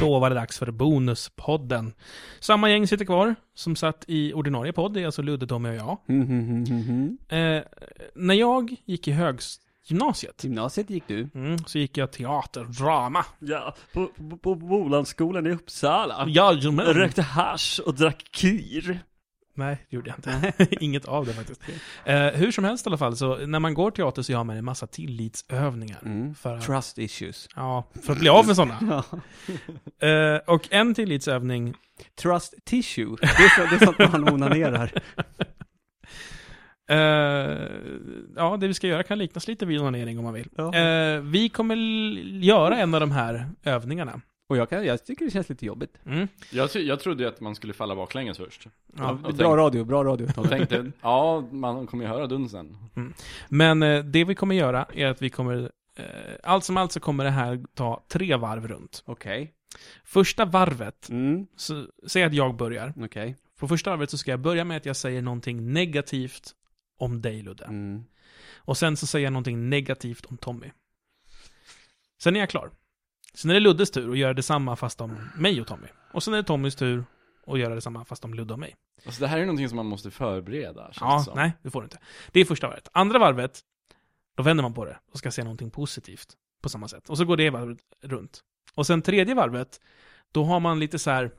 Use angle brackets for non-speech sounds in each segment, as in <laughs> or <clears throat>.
Då var det dags för Bonuspodden. Samma gäng sitter kvar som satt i ordinarie podd, det är alltså Ludde, Tommy och jag. Mhm. Eh, när jag gick i högstgymnasiet Gymnasiet gick du? mm, så gick jag teater, drama. Ja, på, på, på Bolandsskolan i Ah, Uppsala. Jajamän. Rökte hasch och drack kyr. Nej, det gjorde jag inte. <laughs> Inget av det faktiskt. Eh, hur som helst i alla fall, så när man går teater så gör man en massa tillitsövningar. Mm. För att, Trust issues. ja, för att bli av med sådana. Ja. Eh, och en tillitsövning, Trust tissue. Det är, så, det är sånt man onanerar. eh, ja, det vi ska göra kan liknas lite vid onanering om man vill. Ja. Eh, vi kommer l- göra en av de här övningarna. Och jag, kan, jag tycker det känns lite jobbigt. Mm. Jag, ty- jag trodde ju att man skulle falla baklänges först. Ja. och bra tänk- radio, bra radio. De tänkte, ja, man kommer ju höra dunsen. Men eh, det vi kommer göra är att vi kommer, eh, allt som allt så kommer det här ta tre varv runt. Okej. Första varvet, Mm, så, säg att jag börjar. okej. På första varvet så ska jag börja med att jag säger någonting negativt om dig Ludde. Mm. Och sen så säger jag någonting negativt om Tommy. Sen är jag klar. Sen är det Luddes tur att göra detsamma fast om mig och Tommy. Och sen är det Tommys tur att göra detsamma fast om Ludde och mig. Alltså det här är ju någonting som man måste förbereda, känns det Ja, som. nej, det får du inte. Det är första varvet. Andra varvet, då vänder man på det och ska säga någonting positivt på samma sätt. Och så går det varvet runt. Och sen tredje varvet, då har man lite så här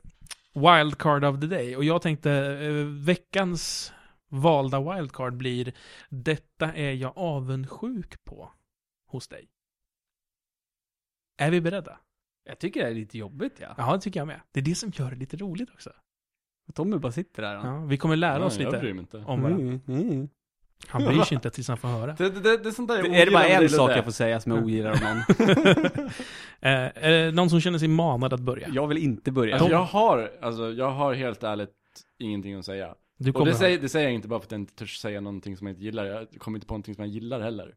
wildcard of the day. Och jag tänkte, eh, veckans valda wildcard blir Detta är jag avundsjuk på hos dig. Är vi beredda? Jag tycker det är lite jobbigt, ja. Ja, det tycker jag med. Det är det som gör det lite roligt också. Tommy bara sitter där. Han. Ja, vi kommer lära Nej, oss Jag lite bryr mig inte. om varandra. Mm, mm. Han bryr sig inte tills han får höra. Det, det, det, det är sånt där jag Är det bara ogillar med en dig, sak Ludde. jag får säga som jag ogillar om någon? <laughs> Eh, är det någon som känner sig manad att börja? Jag vill inte börja. Alltså, jag har, alltså jag har helt ärligt ingenting att säga. Du Och kommer det säger, det säger jag inte bara för att jag inte törs säga någonting som jag inte gillar. Jag kommer inte på någonting som jag gillar heller.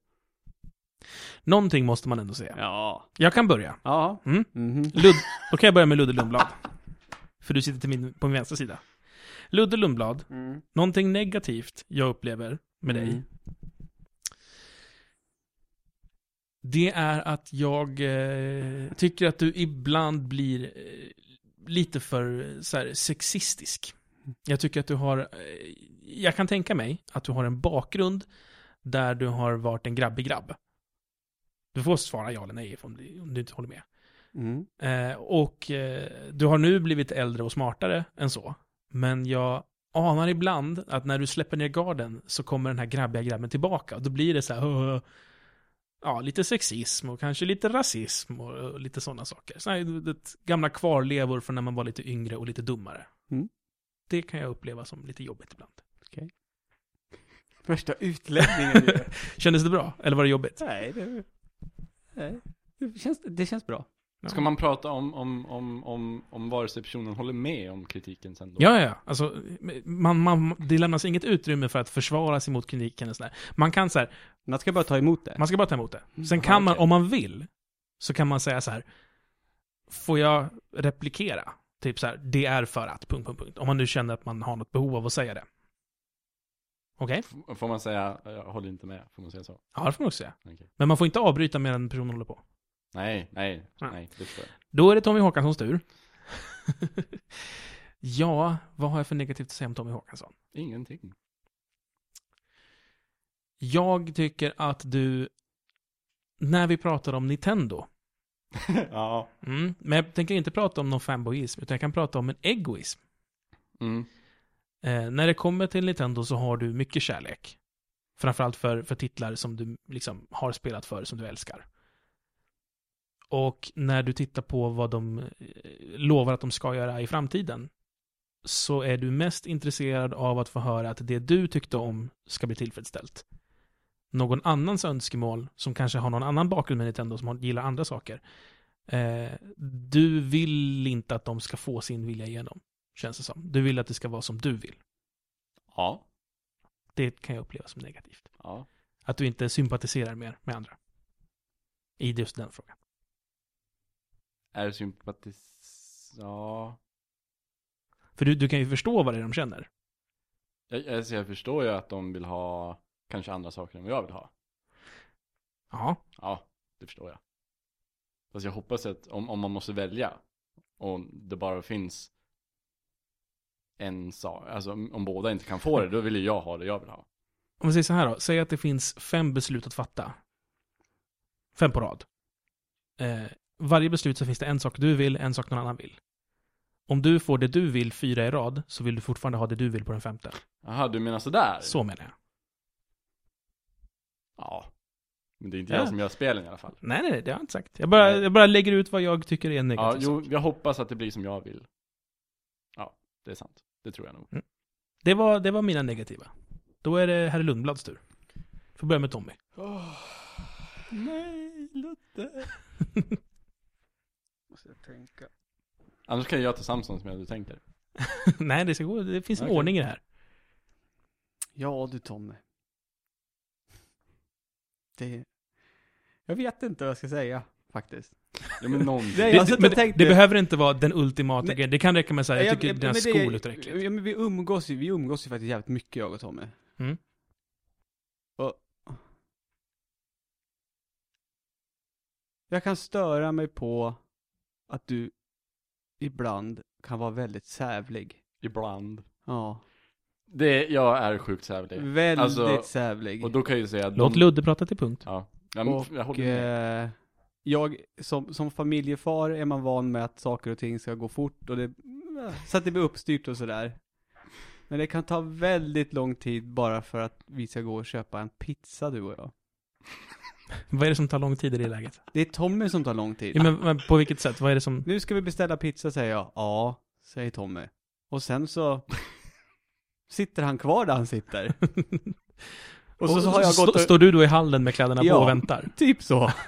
Någonting måste man ändå säga. Ja. Jag kan börja. Ja. Mm. Mhm. Lud... Då kan jag börja med Ludde Lundblad. För du sitter till min, på min vänstra sida. Ludde Lundblad, någonting negativt jag upplever med dig, Mm. det är att jag eh, tycker att du ibland blir eh, lite för eh, så här, sexistisk. Jag tycker att du har, eh, jag kan tänka mig att du har en bakgrund där du har varit en grabbig grabb. Du får svara ja eller nej om du, om du inte håller med. Mm. Eh, och eh, du har nu blivit äldre och smartare än så. Men jag anar ibland att när du släpper ner garden så kommer den här grabbiga grabben tillbaka. Och då blir det så här, "Åh, ja, lite sexism och kanske lite rasism och, och lite sådana saker. Så här, du vet, gamla kvarlevor från när man var lite yngre och lite dummare. Mm. Det kan jag uppleva som lite jobbigt ibland. Värsta utläggningen <laughs> ju. Kändes det bra? Eller var det jobbigt? <laughs> Nej, det... Nej. Det känns, det känns bra. Ska man prata om, om, om, om, om vare sig personen håller med om kritiken sen då? Ja, ja, ja. Alltså, man, man, det lämnas inget utrymme för att försvara sig mot kritiken och sådär. Man kan så här, Man ska bara ta emot det. Man ska bara ta emot det. Sen Mm. Ja, kan man, okej. om man vill, så kan man säga så här. Får jag replikera? Typ så här, det är för att, punkt, punkt, punkt. Om man nu känner att man har något behov av att säga det. Okej? F- Får man säga, jag håller inte med, får man säga så? Ja, det får man också säga. Okej. Men man får inte avbryta medan personen håller på. Nej, nej, Nej. nej, det förstår jag. Då är det Tommy Håkanssons tur. <laughs> ja, vad har jag för negativt att säga om Tommy Håkansson? <laughs> Ingenting. Jag tycker att du, när vi pratar om Nintendo, ja. mm, men jag tänker inte prata om någon fanboyism, utan jag kan prata om en egoism. Mm. Eh, när det kommer till Nintendo så har du mycket kärlek. Framförallt för, för titlar som du liksom har spelat för, som du älskar. Och när du tittar på vad de eh, lovar att de ska göra i framtiden så är du mest intresserad av att få höra att det du tyckte om ska bli tillfredsställt. Någon annans önskemål, som kanske har någon annan bakgrund med Nintendo, som har- gillar andra saker. Eh, du vill inte att de ska få sin vilja igenom, känns det som. Du vill att det ska vara som du vill. Ja. Det kan jag uppleva som negativt. Ja. Att du inte sympatiserar mer med andra. I just den frågan. Är sympatis... Ja. För du, du kan ju förstå vad det är de känner. Jag, jag, alltså, jag förstår ju att de vill ha kanske andra saker än vad jag vill ha. Ja. Ja, det förstår jag. Fast jag hoppas att om, om man måste välja, och det bara finns en sak, alltså om om båda inte kan få det, då vill ju jag ha det jag vill ha. Om vi säger så här då, säg att det finns fem beslut att fatta. Fem på rad. Eh, varje beslut så finns det en sak du vill, en sak någon annan vill. Om du får det du vill fyra i rad, så vill du fortfarande ha det du vill på den femte. Jaha, du menar sådär? Så menar jag. Ja. Men det är inte Ja. jag som gör spelen i alla fall. Nej, nej, nej, det har jag inte sagt. Jag bara, Nej. jag bara lägger ut vad jag tycker är en Ja, negativ jo, sak. jag hoppas att det blir som jag vill. Ja, det är sant. Det tror jag nog. Det var, det var mina negativa. Då är det herr Lundblads tur. Får börja med Tommy. nej, Lutte. <laughs> Måste jag tänka. Annars kan jag ta Samson som jag du tänker. nej, det, ska gå, det finns en Okej. ordning i det Alltså, här. Ja du Tommy. Det... Jag vet inte vad jag ska säga faktiskt. Ja, men någon. Nej, <laughs> Det, jag satt och men det- tänkte- det behöver inte vara den ultimata Nej. grejen. Det kan räcka med så här, jag tycker men dina det- skor låter äckligt. Ja, men vi umgås ju, vi umgås ju faktiskt jävligt mycket jag och Tommy. Mm. Och... Jag kan störa mig på att du ibland kan vara väldigt sävlig. Ibland. Ja, Det, jag är sjukt sävlig. väldigt alltså, sävlig. Och då kan jag ju säga att Låt de- Ludde prata till punkt. Ja, ja men, Och, jag håller med. eh, jag, som, som familjefar är man van med att saker och ting ska gå fort och det, så att det blir uppstyrt och sådär. Men det kan ta väldigt lång tid bara för att vi ska gå och köpa en pizza du och jag. Vad är det som tar lång tid i det läget? Det är Tommy som tar lång tid. Ja, men, men på vilket sätt? Vad är det som... Nu ska vi beställa pizza säger jag. Ja, säger Tommy. Och sen så sitter han kvar där han sitter. Och så, så har jag stå- gått och... Står du då i hallen med kläderna Ja. på och väntar? Typ så. <laughs>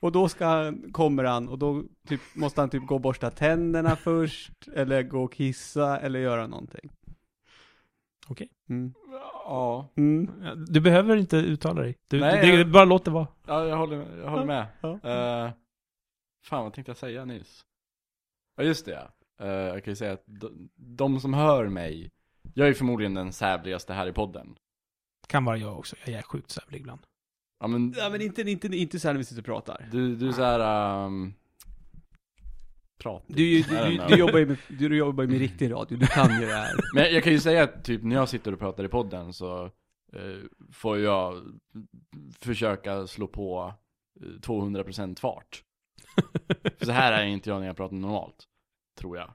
Och då ska, han- kommer han och då typ, måste han typ gå och borsta tänderna först, eller gå och kissa, eller göra någonting. Okej. Mm. Ja, Mm. Du behöver inte uttala dig. Du, Nej, det, jag- Bara låt det vara. ja jag, håller, jag håller med. Ja. Eh, fan, vad tänkte jag säga nyss? Ja, just det. ja. Eh, jag kan ju säga att de, de som hör mig, jag är förmodligen den sävligaste här i podden. Kan vara jag också. Jag är sjukt sävlig <laughs> ibland. Ja, men, Ja men inte, inte, inte så här när vi sitter och pratar. du, du är såhär... Um, pratig. Du, ju- I du, don't du, know. du jobbar ju med, du, du jobbar ju med riktig radio, du kan ju det här. Men jag- jag kan ju säga att typ när jag sitter och pratar i podden så eh, får jag försöka slå på eh, 200% fart. För så här är inte jag när jag pratar normalt, tror jag.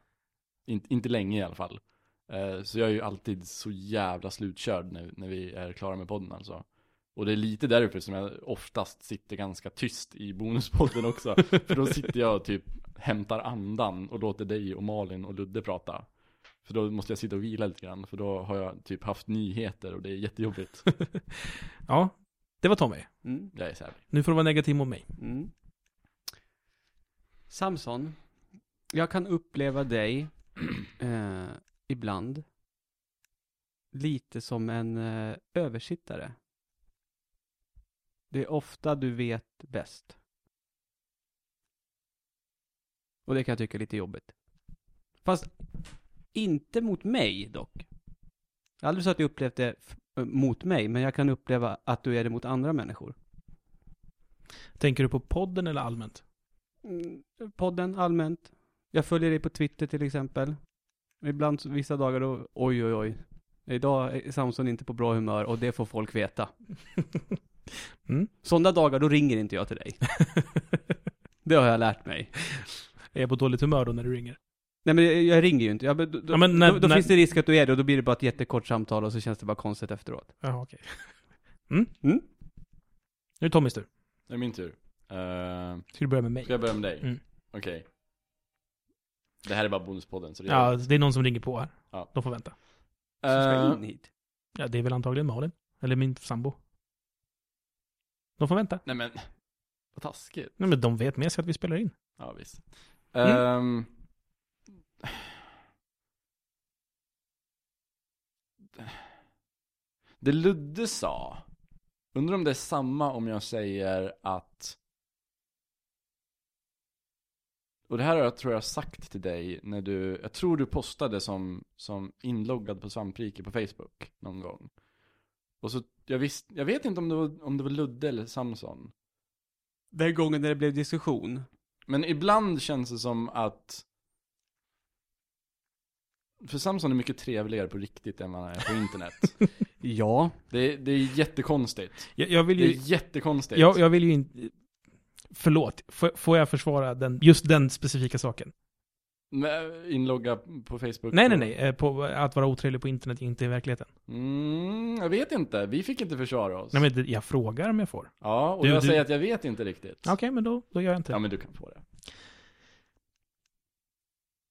In, inte länge i alla fall. Eh, så jag är ju alltid så jävla slutkörd när, när vi är klara med podden alltså. Och det är lite därför som jag oftast sitter ganska tyst i bonuspodden också. För då sitter jag och typ hämtar andan och låter dig och Malin och Ludde prata. För då måste jag sitta och vila lite grann, för då har jag typ haft nyheter och det <laughs> är jättejobbigt. ja, det var Tommy. Mm. Jag är så här. Nu får du vara negativ mot mig. Mm. Samson, jag kan uppleva dig <clears throat> eh, ibland lite som en eh, översittare. Det är ofta du vet bäst. Och det kan jag tycka är lite jobbigt. Fast inte mot mig dock. Jag har aldrig så att jag upplevt det f- eh, mot mig, men jag kan uppleva att du är det mot andra människor. Tänker du på podden eller allmänt? <laughs> Mm, podden allmänt. Jag följer dig på Twitter till exempel. Ibland så- vissa dagar då, oj oj oj. Idag är Samson inte på bra humör och det får folk veta. Mm. Sådana dagar då ringer inte jag <laughs> till dig. Det har jag lärt mig. är jag på dåligt humör då när du ringer? Nej men jag- jag ringer ju inte. Ja, men då Ja, men när- då, då när- finns det risk att du är det och då blir det bara ett jättekort samtal och så känns det bara konstigt efteråt. Jaha, okej. <laughs> Mm. Mm. Nu är det Tommys tur. Det är min tur. Eh, Ska du börja med mig? ska jag börja med dig? Mm. Okej. Det här är bara bonuspodden, så det Ja, alltså, det är någon som ringer på här. Ja. De får vänta. Så ska jag Eh, in hit. Ja, det är väl antagligen Malin. Eller min sambo. De får vänta. Nej men, vad taskigt. Nej, men de vet med sig att vi spelar in. Ja, visst. Mm. Ehm, det Ludde sa, undrar om det är samma om jag säger att Och det här har jag, tror jag sagt till dig när du, jag tror du postade som, som inloggad på Svamprike på Facebook någon gång. Och så, jag, visst, jag vet inte om det var, om det var Ludde eller Samson. Den gången när det blev diskussion. Men ibland känns det som att... För Samson är mycket trevligare på riktigt än man är <laughs> på internet. Ja. det, är, det är jättekonstigt. Jag, jag vill Det är ju... jättekonstigt. Jag, jag vill ju inte... Förlåt, får, får jag försvara den, just den specifika saken? Men, Inlogga på Facebook. Nej, nej, nej. eh, På att vara otrevlig på internet, inte i verkligheten. Mm, jag vet inte. Vi fick inte försvara oss. Nej, men det- jag frågar om jag får. Ja, och Du- jag du- säger att jag vet inte riktigt. Okej, men då, då gör jag inte det. Ja, men du kan få det.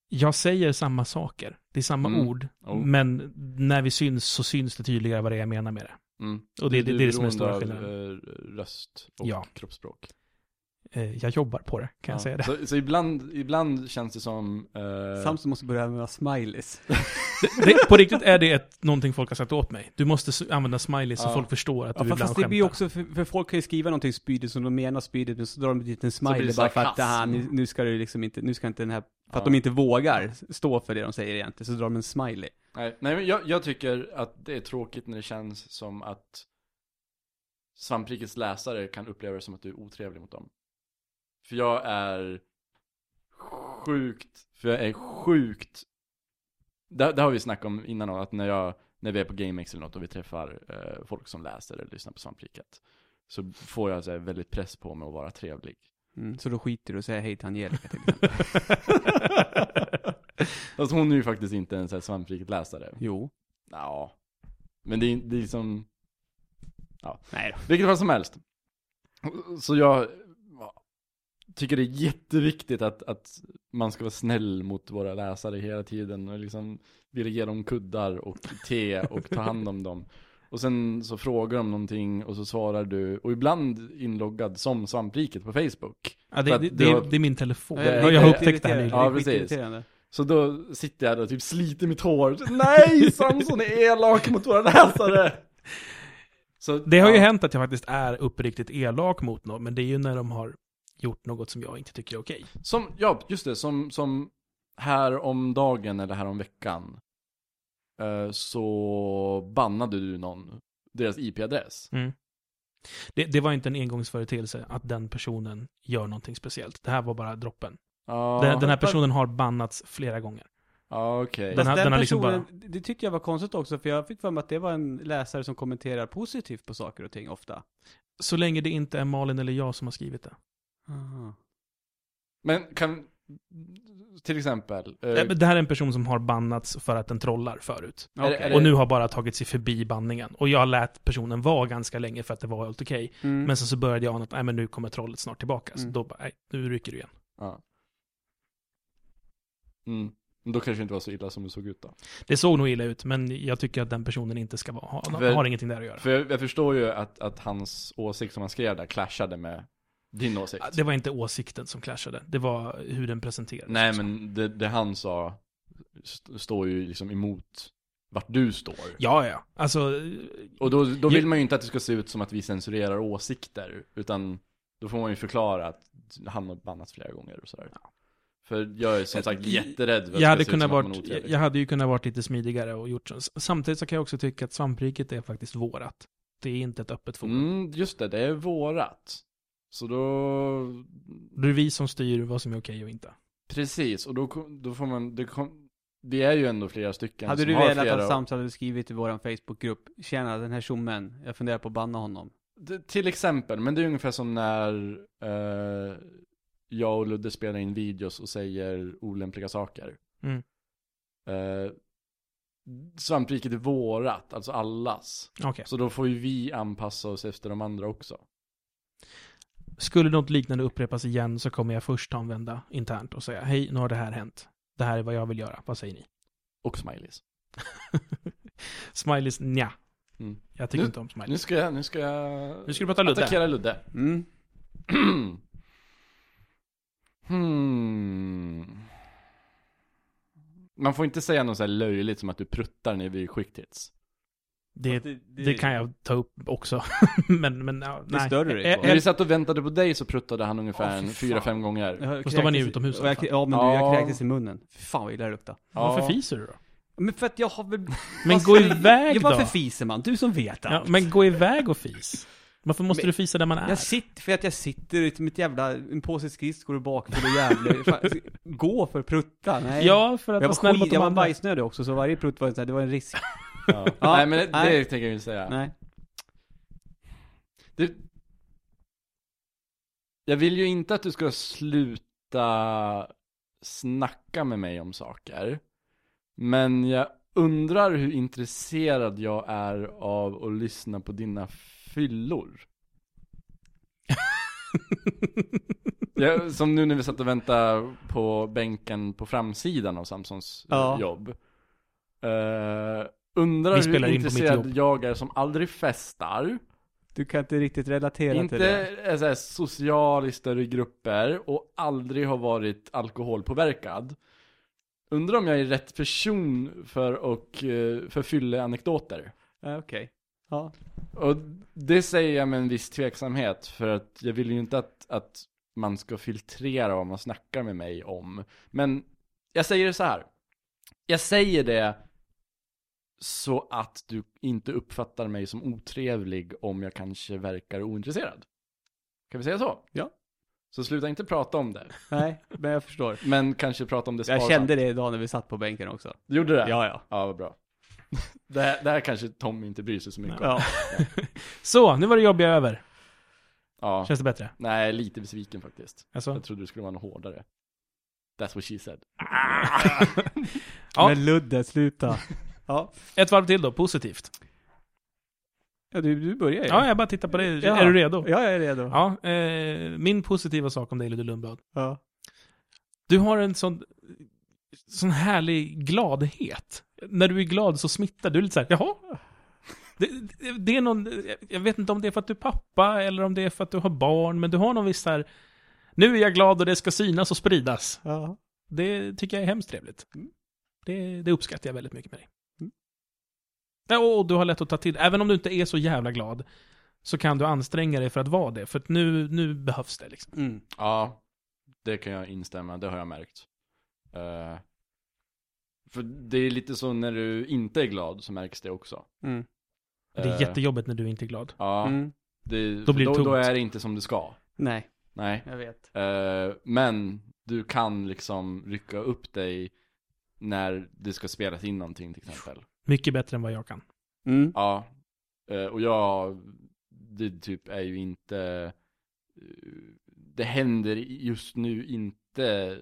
Jag säger samma saker. Det är samma Mm. ord. Oh. Men när vi syns så syns det tydligare vad det är jag menar med det. Mm. Och det, det, det är det som är beroende stora av, skillnaden. eh, Röst och Ja. kroppsspråk. Eh, Jag jobbar på det, kan jag Ja. säga det. Så, så ibland, ibland känns det som... eh, Samson måste börja använda smileys. det på riktigt är det ett, någonting folk har sagt åt mig. Du måste s- använda smileys så Ja. folk förstår att du Ja, fast, ibland fast det blir ju skämtar. också, för, för folk kan ju skriva någonting spydigt som de menar spydigt, men så drar de dit en blir smiley det bara för att sarkasm. aha, nu, nu ska det liksom inte, nu ska inte den här, för att Ja. de inte vågar stå för det de säger egentligen, så drar de en smiley. Nej, nej men jag, jag tycker att det är tråkigt när det känns som att svamprikets läsare kan uppleva det som att du är otrevlig mot dem. För jag är sjukt, för jag är sjukt, det, det har vi snackat om innan också, att när jag, när vi är på GameX eller något och vi träffar eh, folk som läser eller lyssnar på svampriket så får jag så här, väldigt press på mig att vara trevlig. Mm, så då skiter du och säger hej till <laughs> Angelica till Fast hon är ju faktiskt inte en så här svampriket-läsare. Jo. Ja. Men det är, det är som, Nej då. vilket fall som helst. Så jag ja, tycker det är jätteviktigt att, att man ska vara snäll mot våra läsare hela tiden och liksom vill ge dem kuddar och te och ta hand om dem. Och sen så frågar de någonting och så svarar du, och ibland inloggad som svampriket på Facebook. Ja, För det, att det, du det, har- är- det är min telefon. Ja, jag, jag har upptäckt det här nyligen. Ja, Ja, precis. precis. Så då sitter jag där och typ sliter mitt hår. Nej, Samson är elak mot <laughs> våra läsare! Så, Det har ju ja. hänt att jag faktiskt är uppriktigt elak mot någon, men det är ju när de har gjort något som jag inte tycker är okej. Som, ja, just det, som, som här om dagen eller här om veckan eh, så bannade du någon, deras IP-adress. Det, det var inte en engångsföreteelse att den personen gör någonting speciellt. Det här var bara droppen. Ja, Den, den här personen har bannats flera gånger. Ja, okej. Den Den, har- den den har liksom personen, det tyckte jag var konstigt också, för jag fick för mig att det var en läsare som kommenterar positivt på saker och ting ofta. Så länge det inte är Malin eller jag som har skrivit det. Men kan, till exempel, eh, Nej, men Det här är en person som har bannats för att den trollar förut. Är det- är det- Och nu har bara tagit sig förbi banningen. Och jag lät personen vara ganska länge för att det var helt okej. Mm. Men sen så började jag ana att nej, men nu kommer trollet snart tillbaka. Så Mm. då bara, nej, nu rycker du igen. ja. Mm. Men då kanske det inte var så illa som det såg ut då. Det såg nog illa ut, men jag tycker att den personen inte ska vara, ha, Väl- har ingenting där att göra. För jag, jag förstår ju att, att hans åsikt som han skrev där clashade med din åsikt. Det var inte åsikten som clashade, det var hur den presenterades. liksom. Nej men det, det han sa st- står ju liksom emot vart du står. Ja, ja. Alltså, Och då, då vill man ju inte att det ska se ut som att vi censurerar åsikter, utan då får man ju förklara att han har bannats flera gånger och sådär. För jag är som sagt jätterädd för jag att det hade, ska se ut kunnat som att man är varit, otrevlig. jag hade ju kunnat varit lite smidigare och gjort så. Samtidigt så kan jag också tycka att svampriket är faktiskt vårat. Det är inte ett öppet forum. Mm, just det, det är vårat. Så då... Det är vi som styr vad som är okej och inte. Precis, och då, kom- då får man... Det, kom, det är ju ändå flera stycken Hade som du har velat flera... att Samson hade skrivit i vår Facebookgrupp, tjena den här tjommen, jag funderar på att banna honom. Det- Till exempel, men det är ungefär som när eh, jag och Ludde spelar in videos och säger olämpliga saker. Mm. Eh, svampriket är vårat, alltså allas. Okej. Så då får ju vi anpassa oss efter de andra också. Skulle något liknande upprepas igen så kommer jag först ta en vända internt och säga hej, nu har det här hänt. Det här är vad jag vill göra. Vad säger ni? Och smileys. Smileys, nja. Mm. Jag tycker inte om smileys. Nu ska jag, nu ska jag... Nu ska du prata Ludde. Attackera Ludde. <clears throat> Mm. hmm. Man får inte säga något så här löjligt som att du pruttar när vi är quick hits. Det, det, det kan jag ta upp också. <laughs> men, men, ja, Det nej. stör du dig på. När Ä- vi ä- satt och väntade på dig så pruttade han ungefär Åh, en fy fan. fyra, fem gånger. Jag Fast då var ni kräktes- utomhus alltså. i och jag, alla fall. Ja, men du, jag Ja. kräktes i munnen. Fy fan vad illa det luktar. Varför fiser <laughs> du då? Men för att jag har väl... Men Vad gå ska- iväg ja, Varför då. fiser man? Du som vet Ja, allt. men gå iväg och fis. Varför måste Men- du fisa där man är? Jag sitter, för att jag sitter i mitt jävla, en påse skridskor och bakfull <laughs> och jävlig. Fan, alltså, Gå för prutta, nej. Ja, för att vara jag var, snäll mot skit, de jag var andra. bajsnödig också, så varje prutt var en sån här, det var en risk. Ja. Ja. Nej men det, det Nej. tänker jag inte säga. Nej. Du, jag vill ju inte att du ska sluta snacka med mig om saker. Men jag undrar hur intresserad jag är av att lyssna på dina <laughs> fyllor. Jag, som nu när vi satt och väntade på bänken på framsidan av Samsons eh, Ja. jobb. Eh, undrar Vi spelar hur in på mitt jobb. intresserad jag är som aldrig festar. Du kan inte riktigt relatera Inte till det. är så här, social i större grupper och aldrig har varit alkoholpåverkad. Undrar om jag är rätt person för och eh, för fylleanekdoter. Ja, Okej. Ja. Och det säger jag med en viss tveksamhet för att jag vill ju inte att, att man ska filtrera vad man snackar med mig om. Men jag säger det så här. Jag säger det så att du inte uppfattar mig som otrevlig om jag kanske verkar ointresserad. Kan vi säga så? Ja. Så sluta inte prata om det. Nej, men jag förstår. Men kanske prata om det Jag sparsamt. kände det idag när vi satt på bänken också. Du gjorde det? Ja, ja. Ja, vad bra. <laughs> Det här, det här kanske Tommy inte bryr sig så mycket om. Ja. Så, nu var det jobbiga över. Ja. Känns det bättre? Nej, lite besviken faktiskt. Alltså. Jag trodde det skulle vara något hårdare. That's what she said. Ja. Men Ludde, <laughs> sluta. Ja. Ett varv till då, positivt. ja du, du börjar ju. Ja, jag bara tittar på dig. Ja. Är du redo? Ja, jag är redo. Ja. Ja, eh, min positiva sak om dig, Ludde Lundblad. Ja. Du har en sån, sån härlig gladhet. När du är glad så smittar du är lite så här, jaha? Det, det, det är någon, jag vet inte om det är för att du är pappa eller om det är för att du har barn, men du har någon viss så här, nu är jag glad och det ska synas och spridas. Ja. Det tycker jag är hemskt trevligt. Mm. Det, det uppskattar jag väldigt mycket med dig. Mm. Ja, och du har lätt att ta till, även om du inte är så jävla glad, så kan du anstränga dig för att vara det, för att nu, nu behövs det liksom. Mm. Ja, det kan jag instämma. Det har jag märkt. Eh, för det är lite så när du inte är glad så märks det också. Mm. Det är Eh, jättejobbigt när du inte är glad. Ja, Mm. det, Då blir det då, då tungt. är det inte som det ska. Nej, Nej. jag vet. Eh, men du kan liksom rycka upp dig när det ska spelas in någonting till exempel. Mycket bättre än vad jag kan. Mm. Ja, eh, och jag, det typ är ju inte, eh, det händer just nu inte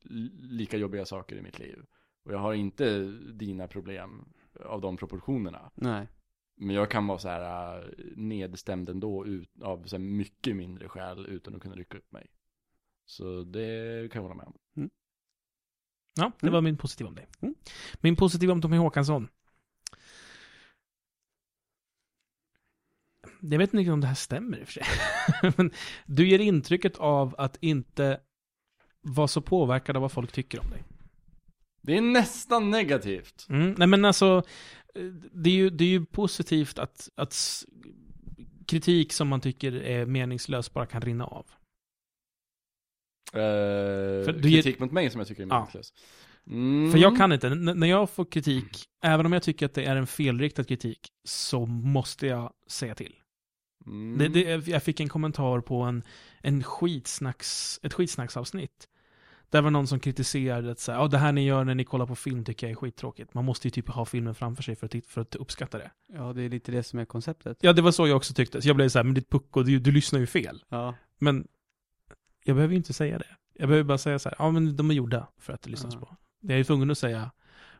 li- lika jobbiga saker i mitt liv. Och jag har inte dina problem av de proportionerna. Nej. Men jag kan vara så här eh, nedstämd ändå ut, av så här mycket mindre skäl utan att kunna rycka upp mig. Så det kan jag hålla med om. Ja, det Mm. var min positiva om dig. Mm. Min positiva om Tommy Håkansson. Jag vet inte om det här stämmer i och för sig. <laughs> Men du ger intrycket av att inte vara så påverkad av vad folk tycker om dig. Det är nästan negativt. Mm. Nej men alltså, eh, det är ju, det är ju positivt att, att s- kritik som man tycker är meningslös bara kan rinna av. Eh, För du ger- kritik mot mig som jag tycker är Ja. meningslös. Mm. För jag kan inte, N när jag får kritik, även om jag tycker att det är en felriktad kritik, så måste jag säga till. Mm. Det, det, jag fick en kommentar på en, en skitsnacks, ett skitsnacksavsnitt. Där var någon som kritiserade att så här, "Ja, det här ni gör när ni kollar på film tycker jag är skittråkigt. Man måste ju typ ha filmen framför sig för att, tit- för att uppskatta det. Ja, det är lite det som är konceptet. Ja, det var så jag också tyckte. Så jag blev så här, men ditt pucko, du, du lyssnar ju fel. Ja. Men jag behöver ju inte säga det. Jag behöver bara säga så här, ja men de är gjorda för att det lyssnas Ja. på. Jag är ju tvungen att säga,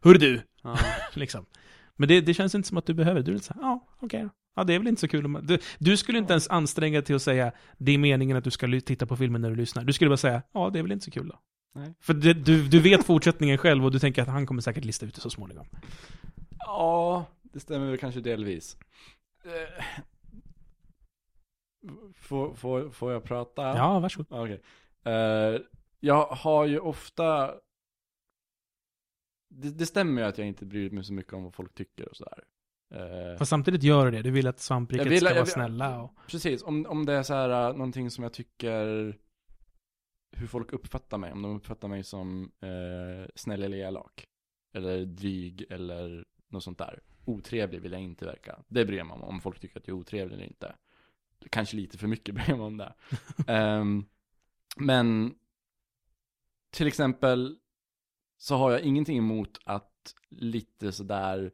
hör du, ja. liksom. Men det, det känns inte som att du behöver. Du är lite så här, ja, okej då. Ja, det är väl inte så kul om man... Du, du skulle inte ens anstränga dig till att säga det är meningen att du ska ly- titta på filmen när du lyssnar. Du skulle bara säga, ja, det är väl inte så kul då. Nej. För det, du, du vet fortsättningen själv och du tänker att han kommer säkert lista ut det så småningom. Ja, det stämmer väl kanske delvis. Eh, Får, får, får jag prata? Ja, varsågod. Ja, Okej. Eh, jag har ju ofta... Det, det stämmer ju att jag inte bryr mig så mycket om vad folk tycker och sådär. Eh, Fast samtidigt gör du det. Du vill att svampriket Jag vill- ska jag vara vill- snälla och... Precis, om, om det är så här eh, någonting som jag tycker hur folk uppfattar mig, om de uppfattar mig som eh, snäll eller elak, eller dryg eller något sånt där. Otrevlig vill jag inte verka. Det bryr jag mig om, om folk tycker att jag är otrevlig eller inte. kanske lite för mycket <laughs> bryr jag mig om det. Ehm, men till exempel så har jag ingenting emot att lite sådär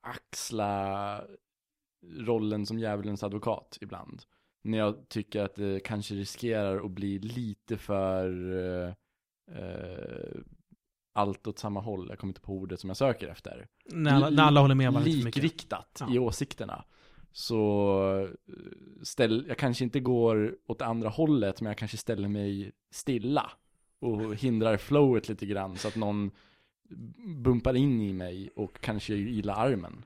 axla rollen som djävulens advokat ibland. När jag tycker att det kanske riskerar att bli lite för eh, eh, allt åt samma håll. Jag kommer inte på ordet som jag söker efter När alla, när alla håller med varandra lite för mycket. likriktat Ja. i åsikterna. Så eh, ställ, jag kanske inte går åt det andra hållet, men jag kanske ställer mig stilla och hindrar flowet lite grann så att någon bumpar in i mig och kanske gillar armen.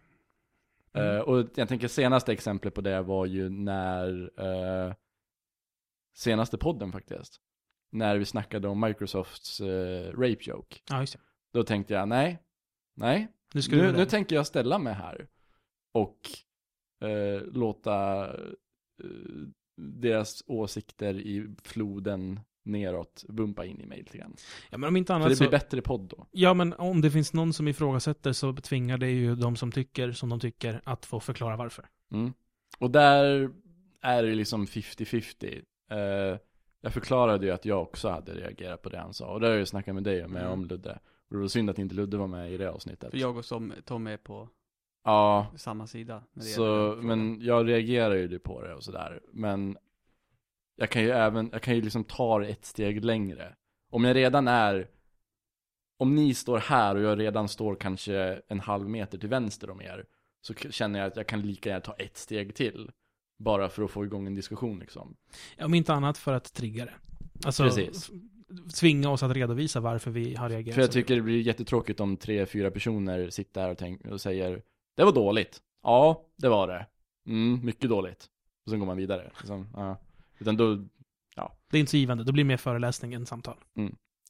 Mm. Eh, och jag tänker senaste exemplet på det var ju när eh, senaste podden faktiskt, när vi snackade om Microsofts eh, rape joke. Ja, just det. Då tänkte jag nej, nej, Nu ska nu, du nu tänker jag ställa mig här och eh, låta eh, deras åsikter i floden neråt bumpa in i mig lite grann. ja, men om inte För annat det alltså- så... blir bättre podd då. Ja, men om det finns någon som ifrågasätter så betvingar det ju de som tycker som de tycker att få förklara varför. Mm. Och där är det liksom 50-50. Eh, jag förklarade ju att jag också hade reagerat på det han sa. Och det har jag ju snackat med dig med Mm. om Ludde. Och det var synd att inte Ludde var med i det avsnittet. För jag och som, Tom är på Ja, samma sida. när det gäller Så, den frågan. men jag reagerar ju på det och sådär. Men jag kan ju även, jag kan ju liksom ta det ett steg längre. Om jag redan är, om ni står här och jag redan står kanske en halv meter till vänster om er. Så k- känner jag att jag kan lika gärna ta ett steg till. Bara för att få igång en diskussion liksom. Om inte annat för att trigga det. Alltså, Precis. f- tvinga oss att redovisa varför vi har reagerat. För jag så. tycker det blir jättetråkigt om tre, fyra personer sitter här och, tänk, och säger Det var dåligt. Ja, det var det. Mm, mycket dåligt. Och sen går man vidare. Liksom, ja. Utan då, Det är inte så givande, det blir mer föreläsning än samtal.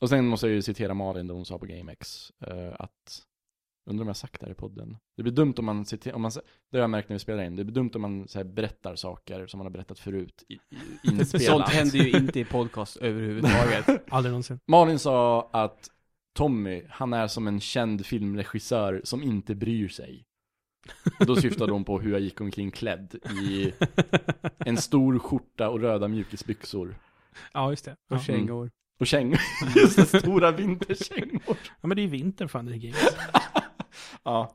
Och sen måste jag ju citera Malin då hon sa på GameX eh, att Undrar om jag har sagt det här i podden. Det blir dumt om man citerar, om man, s- det har jag märkt när vi spelar in, det blir dumt om man så här, berättar saker som man har berättat förut i, i, inspelat. Sånt händer ju inte i podcast <laughs> överhuvudtaget. Aldrig någonsin. <laughs> Malin sa att Tommy, han är som en känd filmregissör som inte bryr sig. Och då syftade hon på hur jag gick omkring klädd i en stor skjorta och röda mjukisbyxor. ja, just det. Och Ja. Mm. kängor. Och kängor. <laughs> Just det, stora vinterkängor. ja, men det är ju vinter fan i <laughs> gamet. Ja.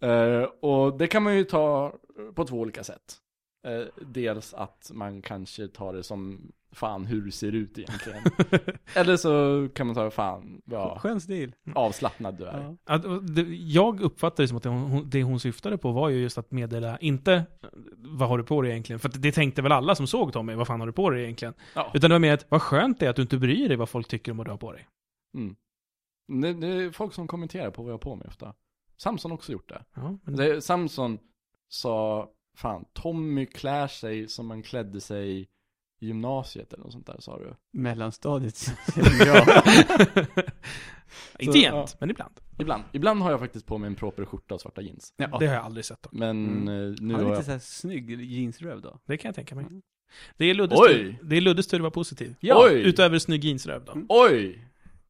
Eh, och det kan man ju ta på två olika sätt. Eh, dels att man kanske tar det som fan hur det ser <laughs> ut egentligen. Eller så kan man ta fan vad Skön stil. avslappnad du är. Ja. Att, och det, jag uppfattar det som att det hon, hon- det hon syftade på var ju just att meddela, inte vad har du på dig egentligen? För att det tänkte väl alla som såg Tommy, vad fan har du på dig egentligen? Ja. Utan det var mer att, vad skönt det är att du inte bryr dig vad folk tycker om vad du har på dig. Mm. Det, det är folk som kommenterar på vad jag har på mig ofta. Samson har också gjort det. Ja, men det Samson sa, fan, Tommy klär sig som man klädde sig i gymnasiet eller något sånt där <laughs> sa du. Mellanstadiet. Ja. <laughs> inte Så, jämt, ja. men ibland. Ibland. Ibland har jag faktiskt på mig en proper skjorta och svarta jeans. Ja. Det har jag aldrig sett. Dock. Men Mm. eh, Han nu har är jag... lite såhär snygg jeansröv då. Det kan jag tänka mig. Mm. Det är Luddes Oj! tur- det är Luddes tur att vara positiv. Ja. Oj! Utöver snygg jeansröv Mm. då. Oj!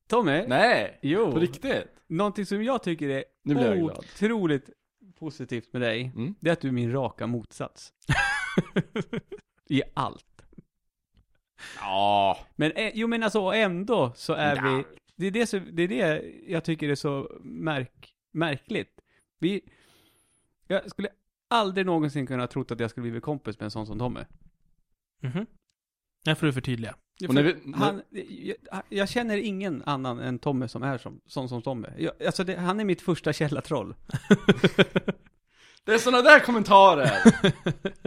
Tommy, Nej! På jo, riktigt? någonting som jag tycker är Nu blir jag glad. otroligt positivt med dig, Mm. det är att du är min raka <laughs> motsats. I allt. Ja. Men eh, jo men alltså och ändå så är Ja. vi, det är det, så, det är det jag tycker är så märk, märkligt. Vi, jag skulle aldrig någonsin kunna ha trott att jag skulle bli kompis med en sån som Tommy. Mhm. Nej, får du förtydliga. Och när vi, när, Han, jag, jag känner ingen annan än Tommy som är som, sån som Tommy. Jag, alltså det, han är mitt första källatroll. Det är sådana där kommentarer!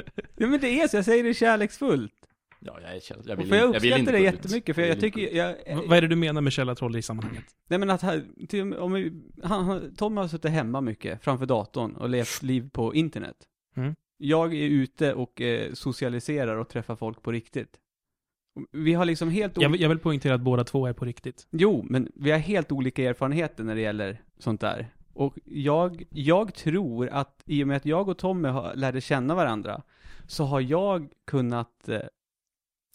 <laughs> Ja men det är så, jag säger det kärleksfullt. ja, jag är känd. Jag Och vill, för jag inte- vill uppskattar inte det gå ut. jättemycket, för jag, vill tycker, inte gå ut. jag, V- vad är det du menar med källartroll i sammanhanget? nej men att han, till, om vi, han, han, Tommy har suttit hemma mycket framför datorn och levt liv på internet. Mm. Jag är ute och eh, socialiserar och träffar folk på riktigt. Vi har liksom helt Jag, vill- jag vill poängtera att båda två är på riktigt. Jo, men vi har helt olika erfarenheter när det gäller sånt där. Och jag, jag tror att i och med att jag och Tommy har, lärde känna varandra så har jag kunnat eh,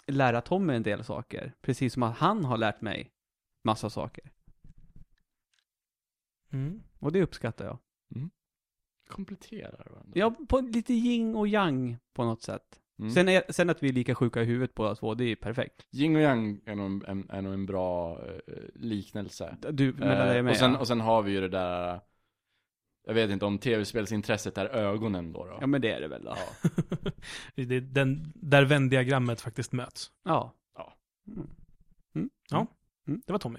lära Tommy en del saker. Precis som att han har lärt mig massa saker. Mm. <laughs> Och det uppskattar jag. Kompletterar varandra. Jag på lite yin och yang på något sätt. Mm. Sen, är, sen att vi är lika sjuka i huvudet båda två, det är ju perfekt. Yin och yang är nog en, är nog en bra eh, liknelse. Du, mellan dig Eh, och mig. och, sen, ja. och sen har vi ju det där, jag vet inte om tv-spelsintresset är ögonen då. då. ja, men det är det väl då. Ja. Det är den, där vändiagrammet faktiskt möts. Ja. Ja. Mm. Det var Tommy.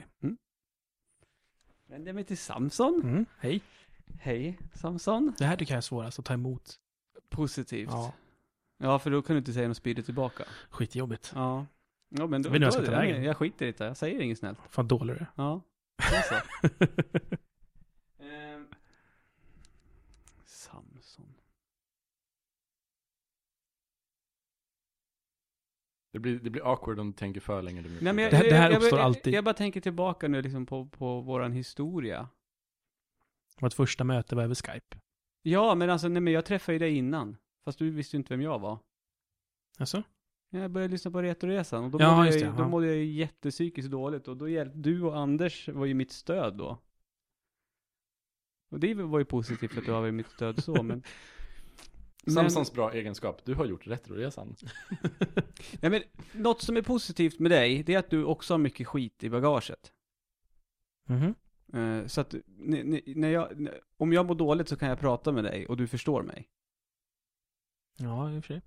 Vänder mig till Samson. Mm. Hej. Hej, Samson. Det här tycker jag är svårast att ta emot. Positivt. Ja, Ja. för då kan du inte säga något spydigt tillbaka. skitjobbigt. Ja. Ja, men då, Vet ni vad jag då- ska ta vägen? Jag skiter i det, jag säger inget snällt. Fan dålig du är. <laughs> Ja, det är så. Ehm, Samson. Det, blir, det blir awkward om du tänker för länge. Nej, men jag, Det här- det här jag, uppstår jag, alltid. Jag, jag bara tänker tillbaka nu liksom på, på våran historia. Vårt första möte var över Skype. Ja, men alltså, nej men jag träffade ju dig innan. Fast du visste ju inte vem jag var. Alltså? Jag började lyssna på Retoresan och då, Ja, mådde, jag, just ju- det, då ja. mådde jag ju jättepsykiskt dåligt och då hjälpte du och Anders var ju mitt stöd då. Och det var ju positivt att du har varit mitt stöd <laughs> så, men... Samsons bra egenskap, du har gjort Retroresan. Nej, men något som är positivt med dig, det är att du också har mycket skit i bagaget. Mhm. Eh, Så att, ni- ni- när jag, när- om jag mår dåligt så kan jag prata med dig och du förstår mig. Ja, i och för sig.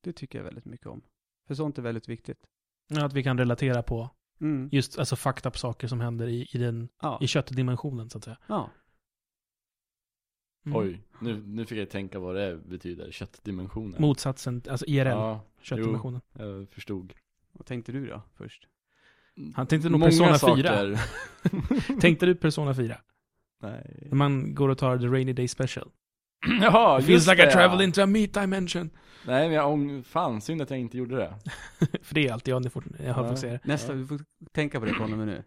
Det tycker jag väldigt mycket om. För sånt är väldigt viktigt. Ja, att vi kan relatera på Mm. just alltså fucked up saker som händer i, i, den, Ja. i köttdimensionen så att säga. ja. Mm. Oj, nu, nu fick jag tänka vad det betyder, köttdimensionen. Motsatsen, alltså IRL, Ja, köttdimensionen. jag förstod. Vad tänkte du då först? Han tänkte nog Persona 4. <laughs> Tänkte du Persona 4? <laughs> <clears throat> Nej. När man går och tar The Rainy Day Special. Jaha, It feels just like I det, travel ja. into a meat dimension. Nej, men jag ång... Fan, synd att jag inte gjorde det. <laughs> För det är alltid jag, ni får, jag har Ja. fått se det. Nästa, du får tänka på det från och med nu.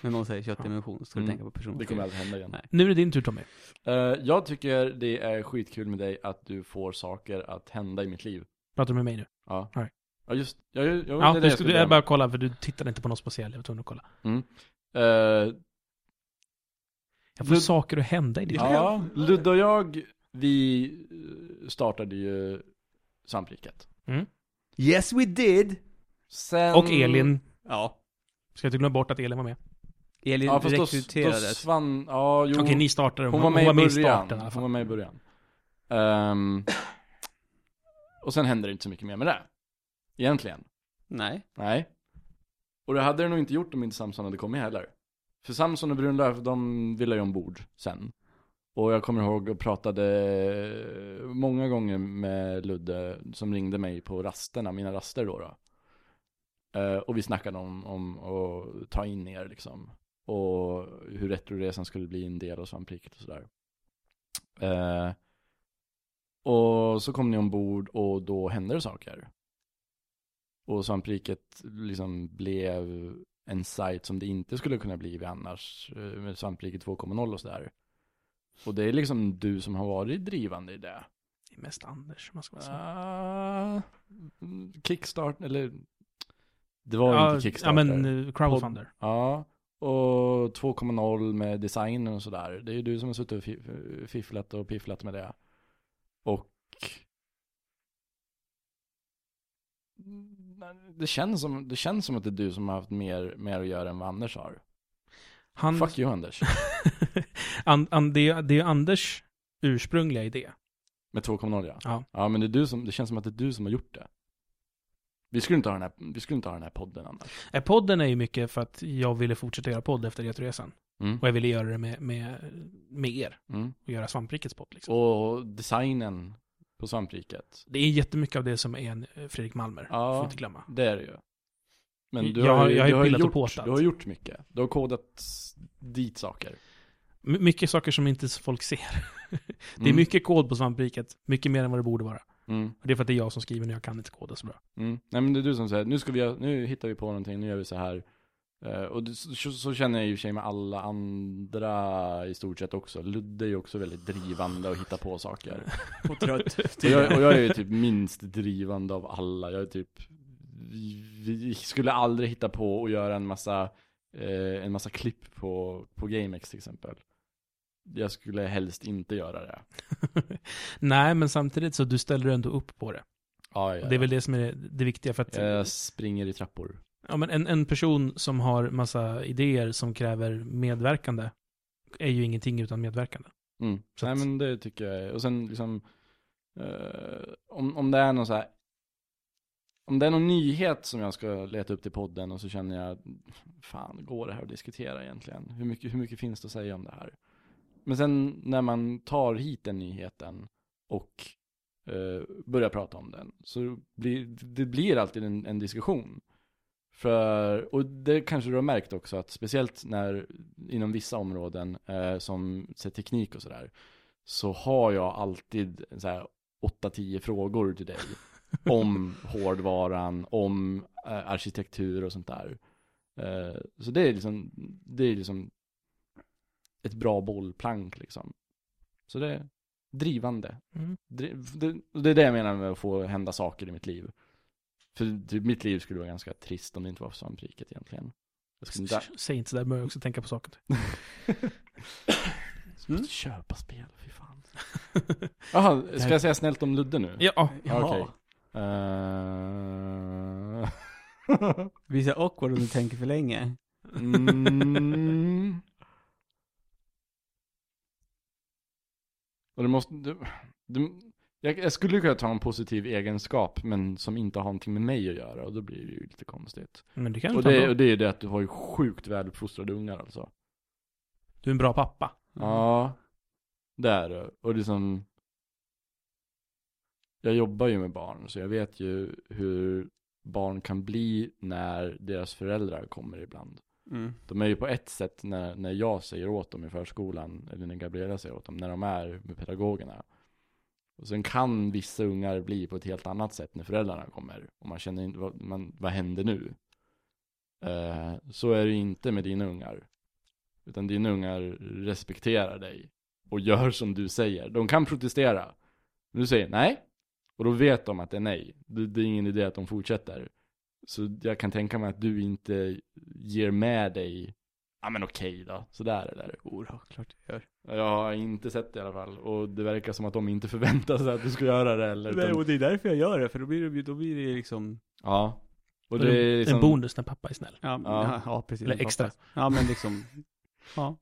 När någon säger köttdimension, ska du Mm. tänka på person. Det kommer aldrig hända igen. Nej. Nu är det din tur Tommy. Eh, jag tycker det är skitkul med dig att du får saker att hända i mitt liv. Pratar du med mig nu? Ja. All right. Ja, just ja, ju- ja, jo, det är du, det skulle, jag skulle jag börja bara kolla för du tittade inte på något speciellt. Jag var tvungen att kolla. med. Eh, Jag får Du- saker att hända i ditt liv. <laughs> Ja, Ludde och jag, vi eh, startade ju Svampriket. Yes we did! Sen... Och Elin. Ja. Ska jag inte glömma bort att Elin var med? Elin Ja, fast då, då rekryterades. svann... Ja, jo. Okej, ni startade. Hon var med, i i början. starten i alla Hon fall. var med i början. Ehm, och sen hände det inte så mycket mer med det. Egentligen. Nej. Nej. Och det hade det nog inte gjort om inte Samson hade kommit heller. För Samson och Brunlöf, de ville ju ombord sen. Och jag kommer ihåg och pratade många gånger med Ludde som ringde mig på rasterna, mina raster då. då. Eh, och vi snackade om, om att ta in er liksom. Och hur Retroresan skulle bli en del av Svampriket och sådär. Eh, och så kom ni ombord och då hände det saker. Och svampriket liksom blev en sajt som det inte skulle kunna bli annars eh, med svampriket 2.0 och sådär. Och det är liksom du som har varit drivande i det. Det är mest Anders, om man ska vara så. Ah, kickstart, eller det var ja, inte Kickstarter. ja, men eh, crowdfunder. Ja, och 2.0 med designen och sådär. Det är ju du som har suttit och fi- fifflat och pifflat med det. Och Mm, det känns, som, det känns som att det är du som har haft mer, mer att göra än vad Anders har. Han, Fuck you Anders. <laughs> an, an, det, är- det är Anders ursprungliga idé. Med 2.0 ja. Ja. Ja men det, är du som, det känns som att det är du som har gjort det. Vi skulle inte ha den här, vi skulle inte ha den här podden annars. Eh, Podden är ju mycket för att jag ville fortsätta göra podd efter Retoresan. Mm. Och jag ville göra det med, med, med er. Mm. Och göra Svamprikets podd liksom. Och designen på svampriket. Det är jättemycket av det som är en eh, Fredrik Malmer. Ja. Får inte glömma. Det är det ju. Men du Jag har- har, ju- jag har ju du har ju pillat och gjort, påtat. Du har gjort mycket. Du har kodat s- dit saker. My- mycket saker som inte folk ser. Det är Mm, mycket kod på svampriket, mycket mer än vad det borde vara. Mm. Och det är för att det är jag som skriver när jag kan inte koda så bra. <laughs> Mm. Nej men det är du som säger, nu, ska vi, göra- nu hittar vi på någonting, nu gör vi så här. Eh, och det, så, så känner jag i och för sig med alla andra i stort sett också. Ludde är ju också väldigt drivande och hittar på saker. Och <laughs> trött. Och jag, och jag är ju typ minst drivande av alla. Jag är typ, vi, vi skulle aldrig hitta på att göra en massa, eh, en massa klipp på, på GameX till exempel. jag skulle helst inte göra det. Nej, men samtidigt så du ställer ändå upp på det. Ja, Och Det är väl det som är det, det viktiga. För att, Jag springer i trappor. ja, men en, en person som har massa idéer som kräver medverkande är ju ingenting utan medverkande. Mm. Så Nej att- men det tycker jag är- Och sen liksom, eh, om, om det är någon så här, om det är någon nyhet som jag ska leta upp till podden och så känner jag, fan går det här att diskutera egentligen? Hur mycket, hur mycket finns det att säga om det här? Men sen när man tar hit den nyheten och eh, börjar prata om den, så blir det blir alltid en, en diskussion. För, och det kanske du har märkt också att speciellt när inom vissa områden eh, som så här, teknik och sådär så har jag alltid så här 8-10 frågor till dig om hårdvaran, om eh, arkitektur och sånt där. Eh, så det är liksom, det är liksom ett bra bollplank liksom. Så det är drivande. Mm. Dri- Det, det är det jag menar med att få hända saker i mitt liv. För typ, mitt liv skulle vara ganska trist om det inte var för svampriket egentligen. Jag skulle inte Säg inte sådär, börjar jag också tänka på saker. Mm. köpa spel, fy fan. <laughs> Jaha, ska jag säga snällt om Ludde nu? Ja, Okej. Ja. Eh, Vi är så awkward om du tänker för länge. <laughs> Mm. Och du måste... Du, du, jag, jag skulle kunna ta en positiv egenskap, men som inte har någonting med mig att göra, och då blir det ju lite konstigt. <laughs> men du kan Och ju det, det, och det är ju det att du har ju sjukt väluppfostrade ungar alltså. Du är en bra pappa. Ja, det är det. Och liksom... Jag jobbar ju med barn, så jag vet ju hur barn kan bli när deras föräldrar kommer ibland. Mm. De är ju på ett sätt när, när jag säger åt dem i förskolan, eller när Gabriella säger åt dem, när de är med pedagogerna. Och sen kan vissa ungar bli på ett helt annat sätt när föräldrarna kommer. Och man känner inte, vad, man, vad händer nu? Eh, så är det ju inte med dina ungar. Utan dina ungar respekterar dig och gör som du säger. De kan protestera. Men du säger nej, och då vet de att det är nej. Det, det är ingen idé att de fortsätter. Så jag kan tänka mig att du inte ger med dig, ja men okej då, sådär eller? Oh, ja, klart jag gör. Jag har inte sett det i alla fall och det verkar som att de inte förväntar sig att du ska göra det eller. Nej, utan- och det är därför jag gör det, för då blir det, då blir det liksom, Ja. Och Det det är liksom, En bonus när pappa är snäll. ja, Ja. ja. precis. Eller extra. Ja, men liksom,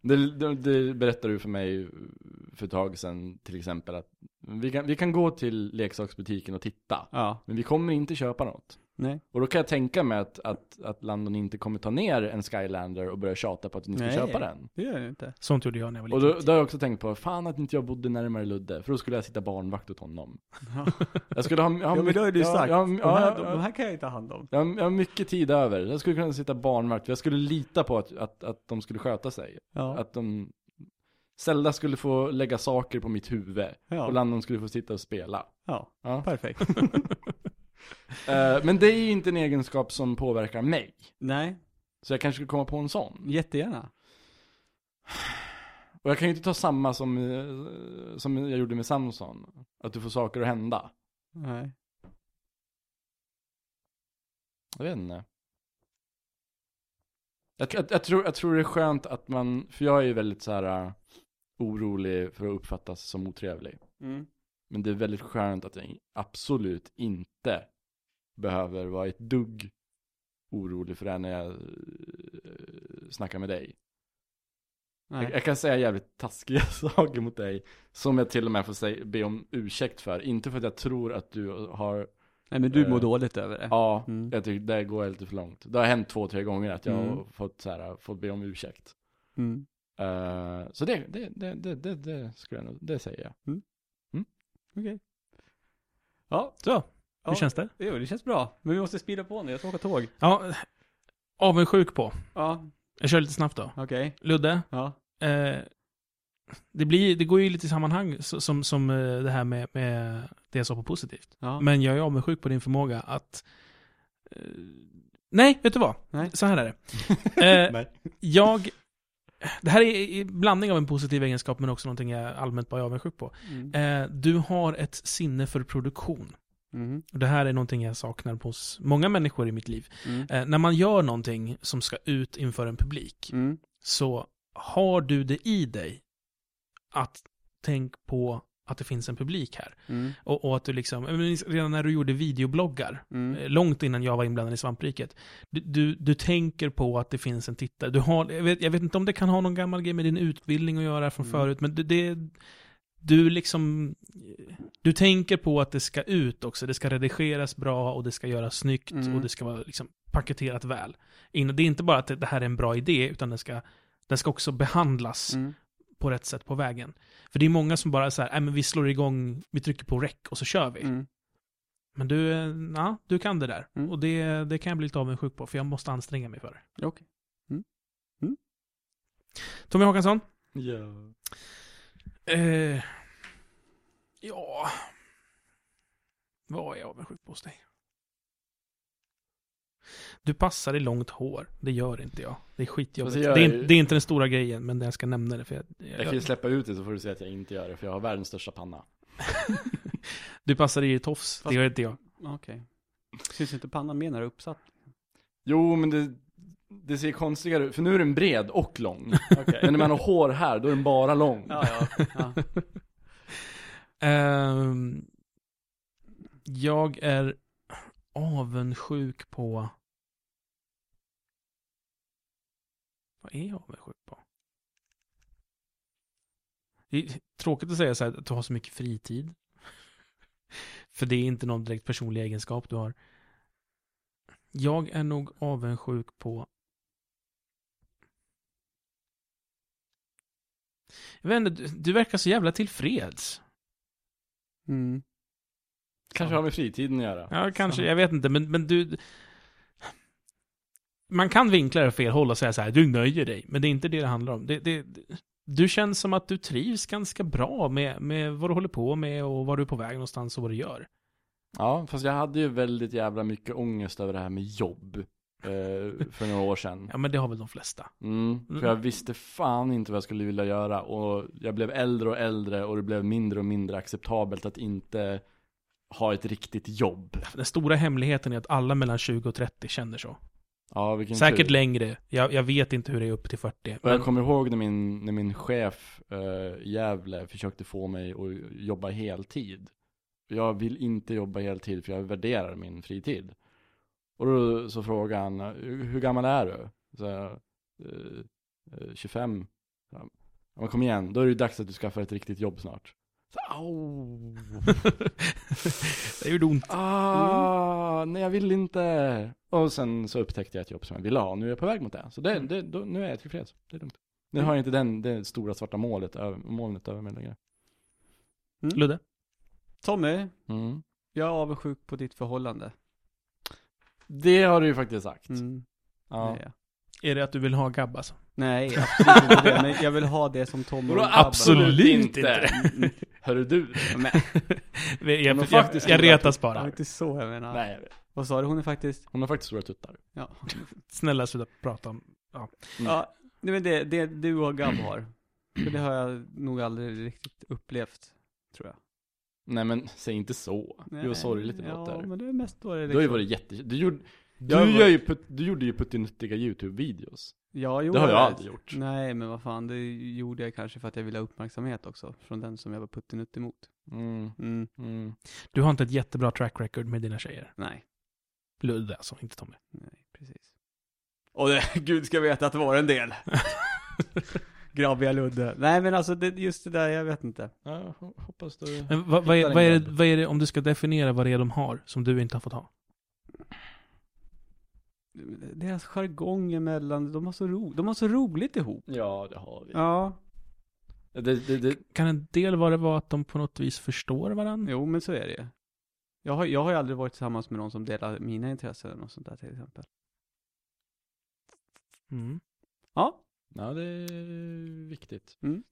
det, det, det berättade du för mig för ett tag sedan till exempel att vi kan, vi kan gå till leksaksbutiken och titta, ja, men vi kommer inte köpa något. nej. Och då kan jag tänka mig att, att, att Landon inte kommer ta ner en Skylander och börja tjata på att ni ska Nej. köpa den. Det gör jag inte. Sånt gjorde jag när jag var Och liten. då, då har jag också tänkt på, fan att inte jag bodde närmare Ludde, för då skulle jag sitta barnvakt åt honom. Ja, <laughs> Jag skulle ha, jag ja men det har ju du jag- sagt. Jag, de, jag, här, jag, de här kan jag inte ha hand om. jag, har- jag har mycket tid över. Jag skulle kunna sitta barnvakt, för jag skulle lita på att, att, att de skulle sköta sig. Ja, Att de... Zelda skulle få lägga saker på mitt huvud, och ja, Landon skulle få sitta och spela. ja. Ja. perfekt. Eh, men det är ju inte en egenskap som påverkar mig. Nej, Så jag kanske skulle komma på en sån. jättegärna. Och jag kan ju inte ta samma som, eh, som jag gjorde med Samson. Att du får saker att hända. Nej. Jag vet inte. Jag, jag, jag, tror, jag tror det är skönt att man, för jag är ju väldigt så här äh, orolig för att uppfattas som otrevlig. Mm. Men det är väldigt skönt att jag absolut inte behöver vara ett dugg orolig för det här när jag eh, snackar med dig. Nej. Jag, jag kan säga jävligt taskiga <laughs> saker mot dig som jag till och med får säga, be om ursäkt för. Inte för att jag tror att du har, Nej, men du mår Eh, dåligt över det. ja, Mm. Jag tycker det går lite för långt. Det har hänt två, tre gånger att jag har Mm. fått, så här, fått be om ursäkt. Mm. Eh, så det, det, det, det, det, det skulle jag nog, det säger jag. Ja, Så, ja. hur känns det? Jo, det känns bra. Men vi måste spida på nu, jag ska åka tåg. Ja, avundsjuk på. Ja, Jag kör lite snabbt då. okej. Ludde, Ja. eh, det, blir, det går ju lite i sammanhang så- som, som eh, det här med, med det jag sa på positivt. Ja. Men jag är avundsjuk på din förmåga att... Eh, nej, vet du vad? Nej. Så här är <laughs> det. Eh, jag... Det här är en blandning av en positiv egenskap men också någonting jag allmänt bara är avundsjuk på. Mm. Eh, du har ett sinne för produktion. Mm. Och det här är någonting jag saknar hos många människor i mitt liv. Mm. Eh, när man gör någonting som ska ut inför en publik Mm. så har du det i dig att tänk på att det finns en publik här. Mm. Och, och att du liksom, jag minns redan när du gjorde videobloggar, Mm. eh, långt innan jag var inblandad i svampriket, du, du, du tänker på att det finns en tittare. Du har, jag, vet, jag vet inte om det kan ha någon gammal grej med din utbildning att göra från Mm. förut, men det, det du liksom, du tänker på att det ska ut också, det ska redigeras bra och det ska göras snyggt Mm. och det ska vara liksom paketerat väl. In- Det är inte bara att det, det här är en bra idé, utan den ska, den ska också behandlas Mm. på rätt sätt på vägen. För det är många som bara så här, "Nej, men vi slår igång, vi trycker på rec och så kör vi. Mm. Men du, eh, ja, du kan det där. Mm. Och det, det kan jag bli lite avundsjuk på, för jag måste anstränga mig för det. Okej. Tommy Håkansson? Ja. Eh, ja... Vad är jag avundsjuk på hos dig? Du passar i långt hår. Det gör inte jag. Det är skitjobbigt. Fast jag det, är, är ju- det är inte den stora grejen, men jag ska nämna det. För jag, jag, Jag kan ju släppa ut det så får du säga att jag inte gör det, för jag har världens största panna. Du passar i ett tofs. Fast- Det gör inte jag. Okej. Syns inte pannan mer när det är uppsatt? Jo, men det, det ser konstigare ut, för nu är den bred och lång. Men när man har hår här, då är den bara lång. Ja, ja. ja. Ehm, jag är avundsjuk på... Vad är jag avundsjuk på? Det är tråkigt att säga så här, att du har så mycket fritid. För det är inte någon direkt personlig egenskap du har. Jag är nog avundsjuk på... Jag vet inte, du, du verkar så jävla tillfreds. Mm. Kanske har med fritiden att göra. Ja, kanske. Så. Jag vet inte, men, men du... Man kan vinkla det åt fel håll och säga så här, du nöjer dig, men det är inte det det handlar om. Det, det, du känns som att du trivs ganska bra med, med vad du håller på med och var du är på väg någonstans och vad du gör. Ja, fast jag hade ju väldigt jävla mycket ångest över det här med jobb. eh, För några år sedan. Ja, men det har väl de flesta. Mm, för jag visste fan inte vad jag skulle vilja göra och jag blev äldre och äldre och det blev mindre och mindre acceptabelt att inte ha ett riktigt jobb. Den stora hemligheten är att alla mellan 20 och 30 känner så. Ja, vilken Säkert tur. längre. Jag, jag vet inte hur det är upp till 40. Och Men, jag kommer ihåg när min, när min chef eh, i Gävle försökte få mig att jobba heltid. Jag vill inte jobba heltid för jag värderar min fritid. Och då så frågade han, "Hur- hur gammal är du? Så jag, "Eh, eh, 25. Så han, "Ja, Men kom igen, då är det ju dags att du skaffar ett riktigt jobb snart. Så, Au! <laughs> det gjorde ont. Ah, Mm. nej jag vill inte. Och sen så upptäckte jag ett jobb som jag ville ha. Nu är jag på väg mot det. Så det, Mm. det, då, nu är jag tillfreds. Det är lugnt. Nu Mm. har jag inte den, det stora svarta målet över, molnet över mig längre. Ludde? Tommy, Mm. jag är avundsjuk på ditt förhållande. Det har du ju faktiskt sagt. Mm. Ja. det är jag. Är det att du vill ha Gabb alltså? Nej, absolut inte det. Men jag vill ha det som Tommy Vadå, och Abba. absolut inte. Mm. Hörru du. Men, Jag, jag, jag, faktiskt- jag retas det var bara. inte så jag menar. <laughs> Nej, jag vet. Vad sa du? Hon är faktiskt... hon har faktiskt stora tuttar. Ja. Snälla sluta prata om Mm. ja nej, men det, det du och Gab har. För det har jag nog aldrig riktigt upplevt, tror jag. Nej men säg inte så. Nej. Det var sorgligt det ja, låter. men det är mest då det Du har ju liksom... varit jätte... Du gjorde, du, Jag var- gör ju put, du gjorde ju puttinuttiga YouTube-videos. Ja, jo, Det har jag vet. aldrig gjort. Nej, men vad fan, det gjorde jag kanske för att jag ville ha uppmärksamhet också. Från den som jag var puttinutt emot. Mm, Mm, mm. Du har inte ett jättebra track record med dina tjejer. nej, Ludde alltså, inte Tommy. nej, precis. Och det, <laughs> gud ska veta att det var en del. <laughs> Grabbiga Ludde. Nej, men alltså det, just det där, jag vet inte. Ja, jag hoppas du... Men vad, vad, är, Hittar vad, är en det, grabb. vad är det, om du ska definiera vad det är de har, som du inte har fått ha? Deras jargong emellan, de har så, ro, de har så roligt ihop. Ja, det har vi. Ja. Det, det, det, Kan en del vara det vara att de på något vis förstår varandra? Jo, men så är det ju. Jag har, jag har ju aldrig varit tillsammans med någon som delar mina intressen eller något sånt där till exempel. Mm. Ja, Ja, det är viktigt. Mm.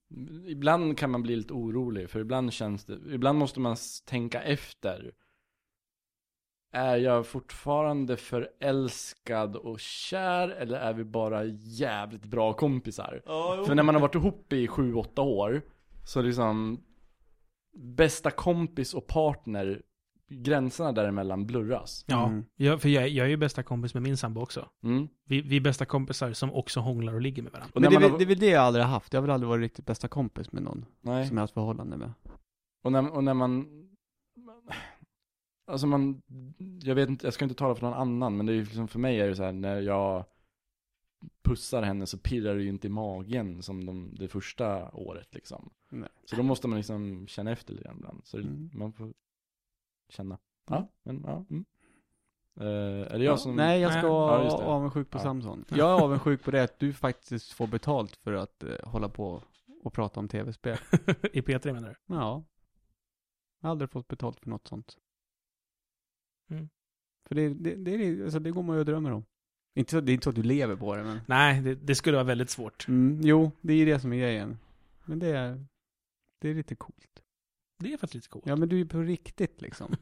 Ibland kan man bli lite orolig, för ibland känns det, ibland måste man s- tänka efter. Är jag fortfarande förälskad och kär eller är vi bara jävligt bra kompisar? För när man har varit ihop i sju åtta år, så liksom bästa kompis och partner gränserna däremellan blurras. Ja, Mm. jag, för jag, är- jag är ju bästa kompis med min sambo också. Mm. Vi, vi är bästa kompisar som också hånglar och ligger med varandra. <laughs> Och Men när det, man är har, väl- det är väl det jag aldrig har haft. Jag har väl aldrig varit riktigt bästa kompis med någon nej. som jag har haft förhållande med. Och när, och när man... Alltså man... Jag vet inte, jag ska inte tala för någon annan, men det är ju liksom för mig är det så här när jag pussar henne så pirrar det ju inte i magen som de, det första året liksom. Nej. Så då måste man liksom känna efter lite grann ibland. Så det, Mm. man får känna. Ja, men ja. Mm. Eh, är det jag som... Nej, jag ska Nej. vara Ja, just det. avundsjuk på Ja. Samson. Jag är avundsjuk på det att du faktiskt får betalt för att eh, hålla på och prata om tv-spel. I P3 menar du? Ja. Jag har aldrig fått betalt för något sånt. Mm. För det, det, det, är, alltså, det går man ju och drömmer om. Inte så, det är inte så att du lever på det, men... Nej, det, det skulle vara väldigt svårt. Mm, jo, det är ju det som är grejen. Men det är, det är lite coolt. Det är faktiskt lite coolt. Ja, men du är ju på riktigt liksom.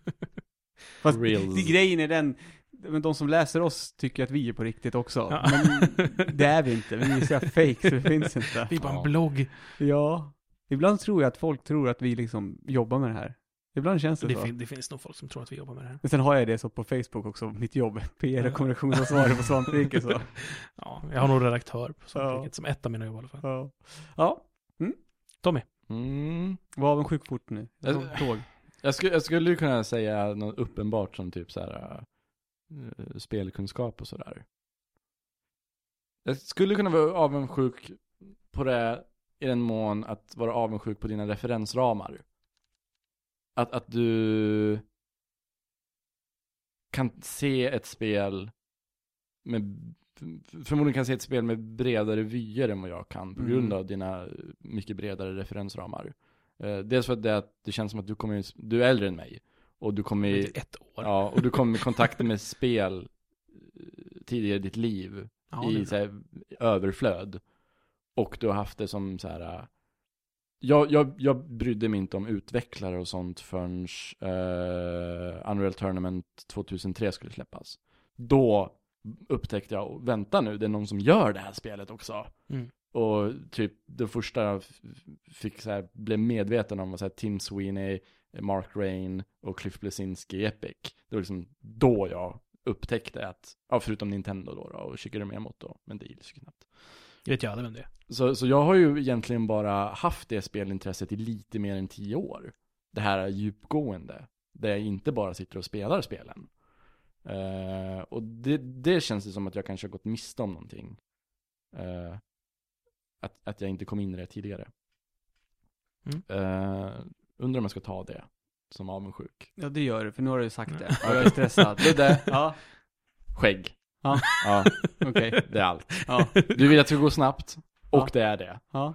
Fast <laughs> Real. det, grejen är den, men de som läser oss tycker att vi är på riktigt också. Ja. <laughs> Men det är vi inte, vi är så jävla fake så det finns inte. Vi är bara en Ja. blogg. <laughs> Ja. Ibland tror jag att folk tror att vi liksom jobbar med det här. Ibland känns det, Det, så. fin, det finns nog folk som tror att vi jobbar med det här. Men sen har jag det så på Facebook också, mitt jobb. <laughs> PR och kommunikationsansvarig på Svampriket <laughs> så. <laughs> Ja, jag har nog redaktör på sånt Ja. vilket som ett av mina jobb i alla fall. Ja. ja. Mm. Var avundsjuk fort nu. Jag Alltså- tog tåg. Jag, skulle, jag skulle ju kunna säga något uppenbart som typ så här eh, spelkunskap och sådär. Jag skulle kunna vara avundsjuk på det i den mån att vara avundsjuk på dina referensramar. Att, att du kan se ett spel med förmodligen kan se ett spel med bredare vyer än vad jag kan på Mm. grund av dina mycket bredare referensramar. Eh, dels för att det, att det känns som att du kommer, du är äldre än mig och du kommer, Det i- är ett år. Ja, ja, och du kommer i kontakter med spel eh, tidigare i ditt liv det är i bra. så här, överflöd. Och du har haft det som så här. äh, Jag, jag, jag brydde mig inte om utvecklare och sånt förrän eh, Unreal Tournament 2003 skulle släppas. Då upptäckte jag, vänta nu, det är någon som gör det här spelet också. Mm. Och typ det första jag f- fick så här, blev medveten om var så här, Tim Sweeney, Mark Rain och Cliff Blesinski i Epic. Det var liksom då jag upptäckte att, ja, förutom Nintendo då, då och Shigeru Miyamoto, men det gills ju knappt. Det vet jag aldrig vem det är. Så, så jag har ju egentligen bara haft det spelintresset i lite mer än tio år. Det här djupgående, där jag inte bara sitter och spelar spelen. Eh, och det, det känns det som att jag kanske har gått miste om någonting. Eh, att, att jag inte kom in i det tidigare. Mm. Eh, undrar om jag ska ta det som avundsjuk. Ja, det gör du, för nu har du sagt <laughs> det. Ja, jag är stressad. Det där, Ja, skägg. Ja. ja, okej. det är allt. Ja, Du vill att det ska gå snabbt, och Ja. det är det. ja.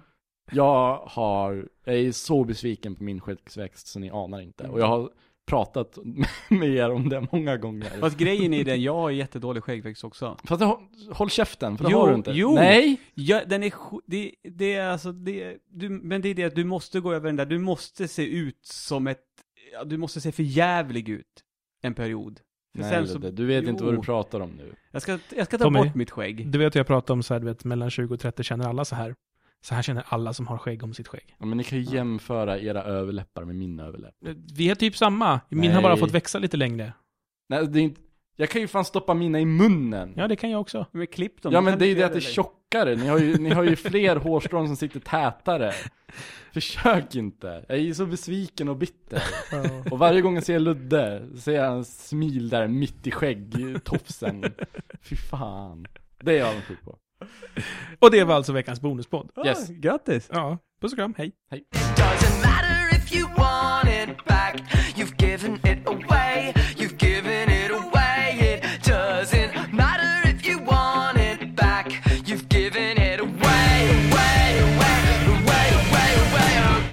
Jag har, jag är så besviken på min skäggväxt så ni anar inte. Och jag har pratat <laughs> med er om det många gånger. Fast grejen är den, jag har jättedålig skäggväxt också. Fast det, har- håll käften, för det Jo, har du inte. jo. Nej! Ja, den är sj- det, det är alltså, det, du, men det är det att du måste gå över den där, du måste se ut som ett, ja, du måste se för jävlig ut en period. För Nej sen så- Ludde, du vet inte vad jo. du pratar om nu. Jag ska, jag ska ta Tommy. bort mitt skägg. Du vet, jag pratade om så här, du vet, mellan 20 och 30 känner alla så här. Så här känner alla som har skägg om sitt skägg. Ja, men ni kan ju Ja. jämföra era överläppar med min överläpp. Vi är typ samma. Min har bara Nej. fått växa lite längre. Nej, det är inte, jag kan ju fan stoppa mina i munnen. Ja, det kan jag också. Men klipp dem. Ja du men kan det är ju inte det göra att det är längre. tjockare, ni har ju, ni <laughs> har ju fler hårstrån som sitter tätare. Försök inte, jag är ju så besviken och bitter. Och varje gång jag ser Ludde, ser jag hans smil där mitt i skäggtofsen. Fy fan. Det är jag avundsjuk på. <laughs> Och det var alltså veckans bonuspodd. Ah, Yes. Grattis! Ja, puss och kram, hej. Doesn't matter if you want it back, you've given it away.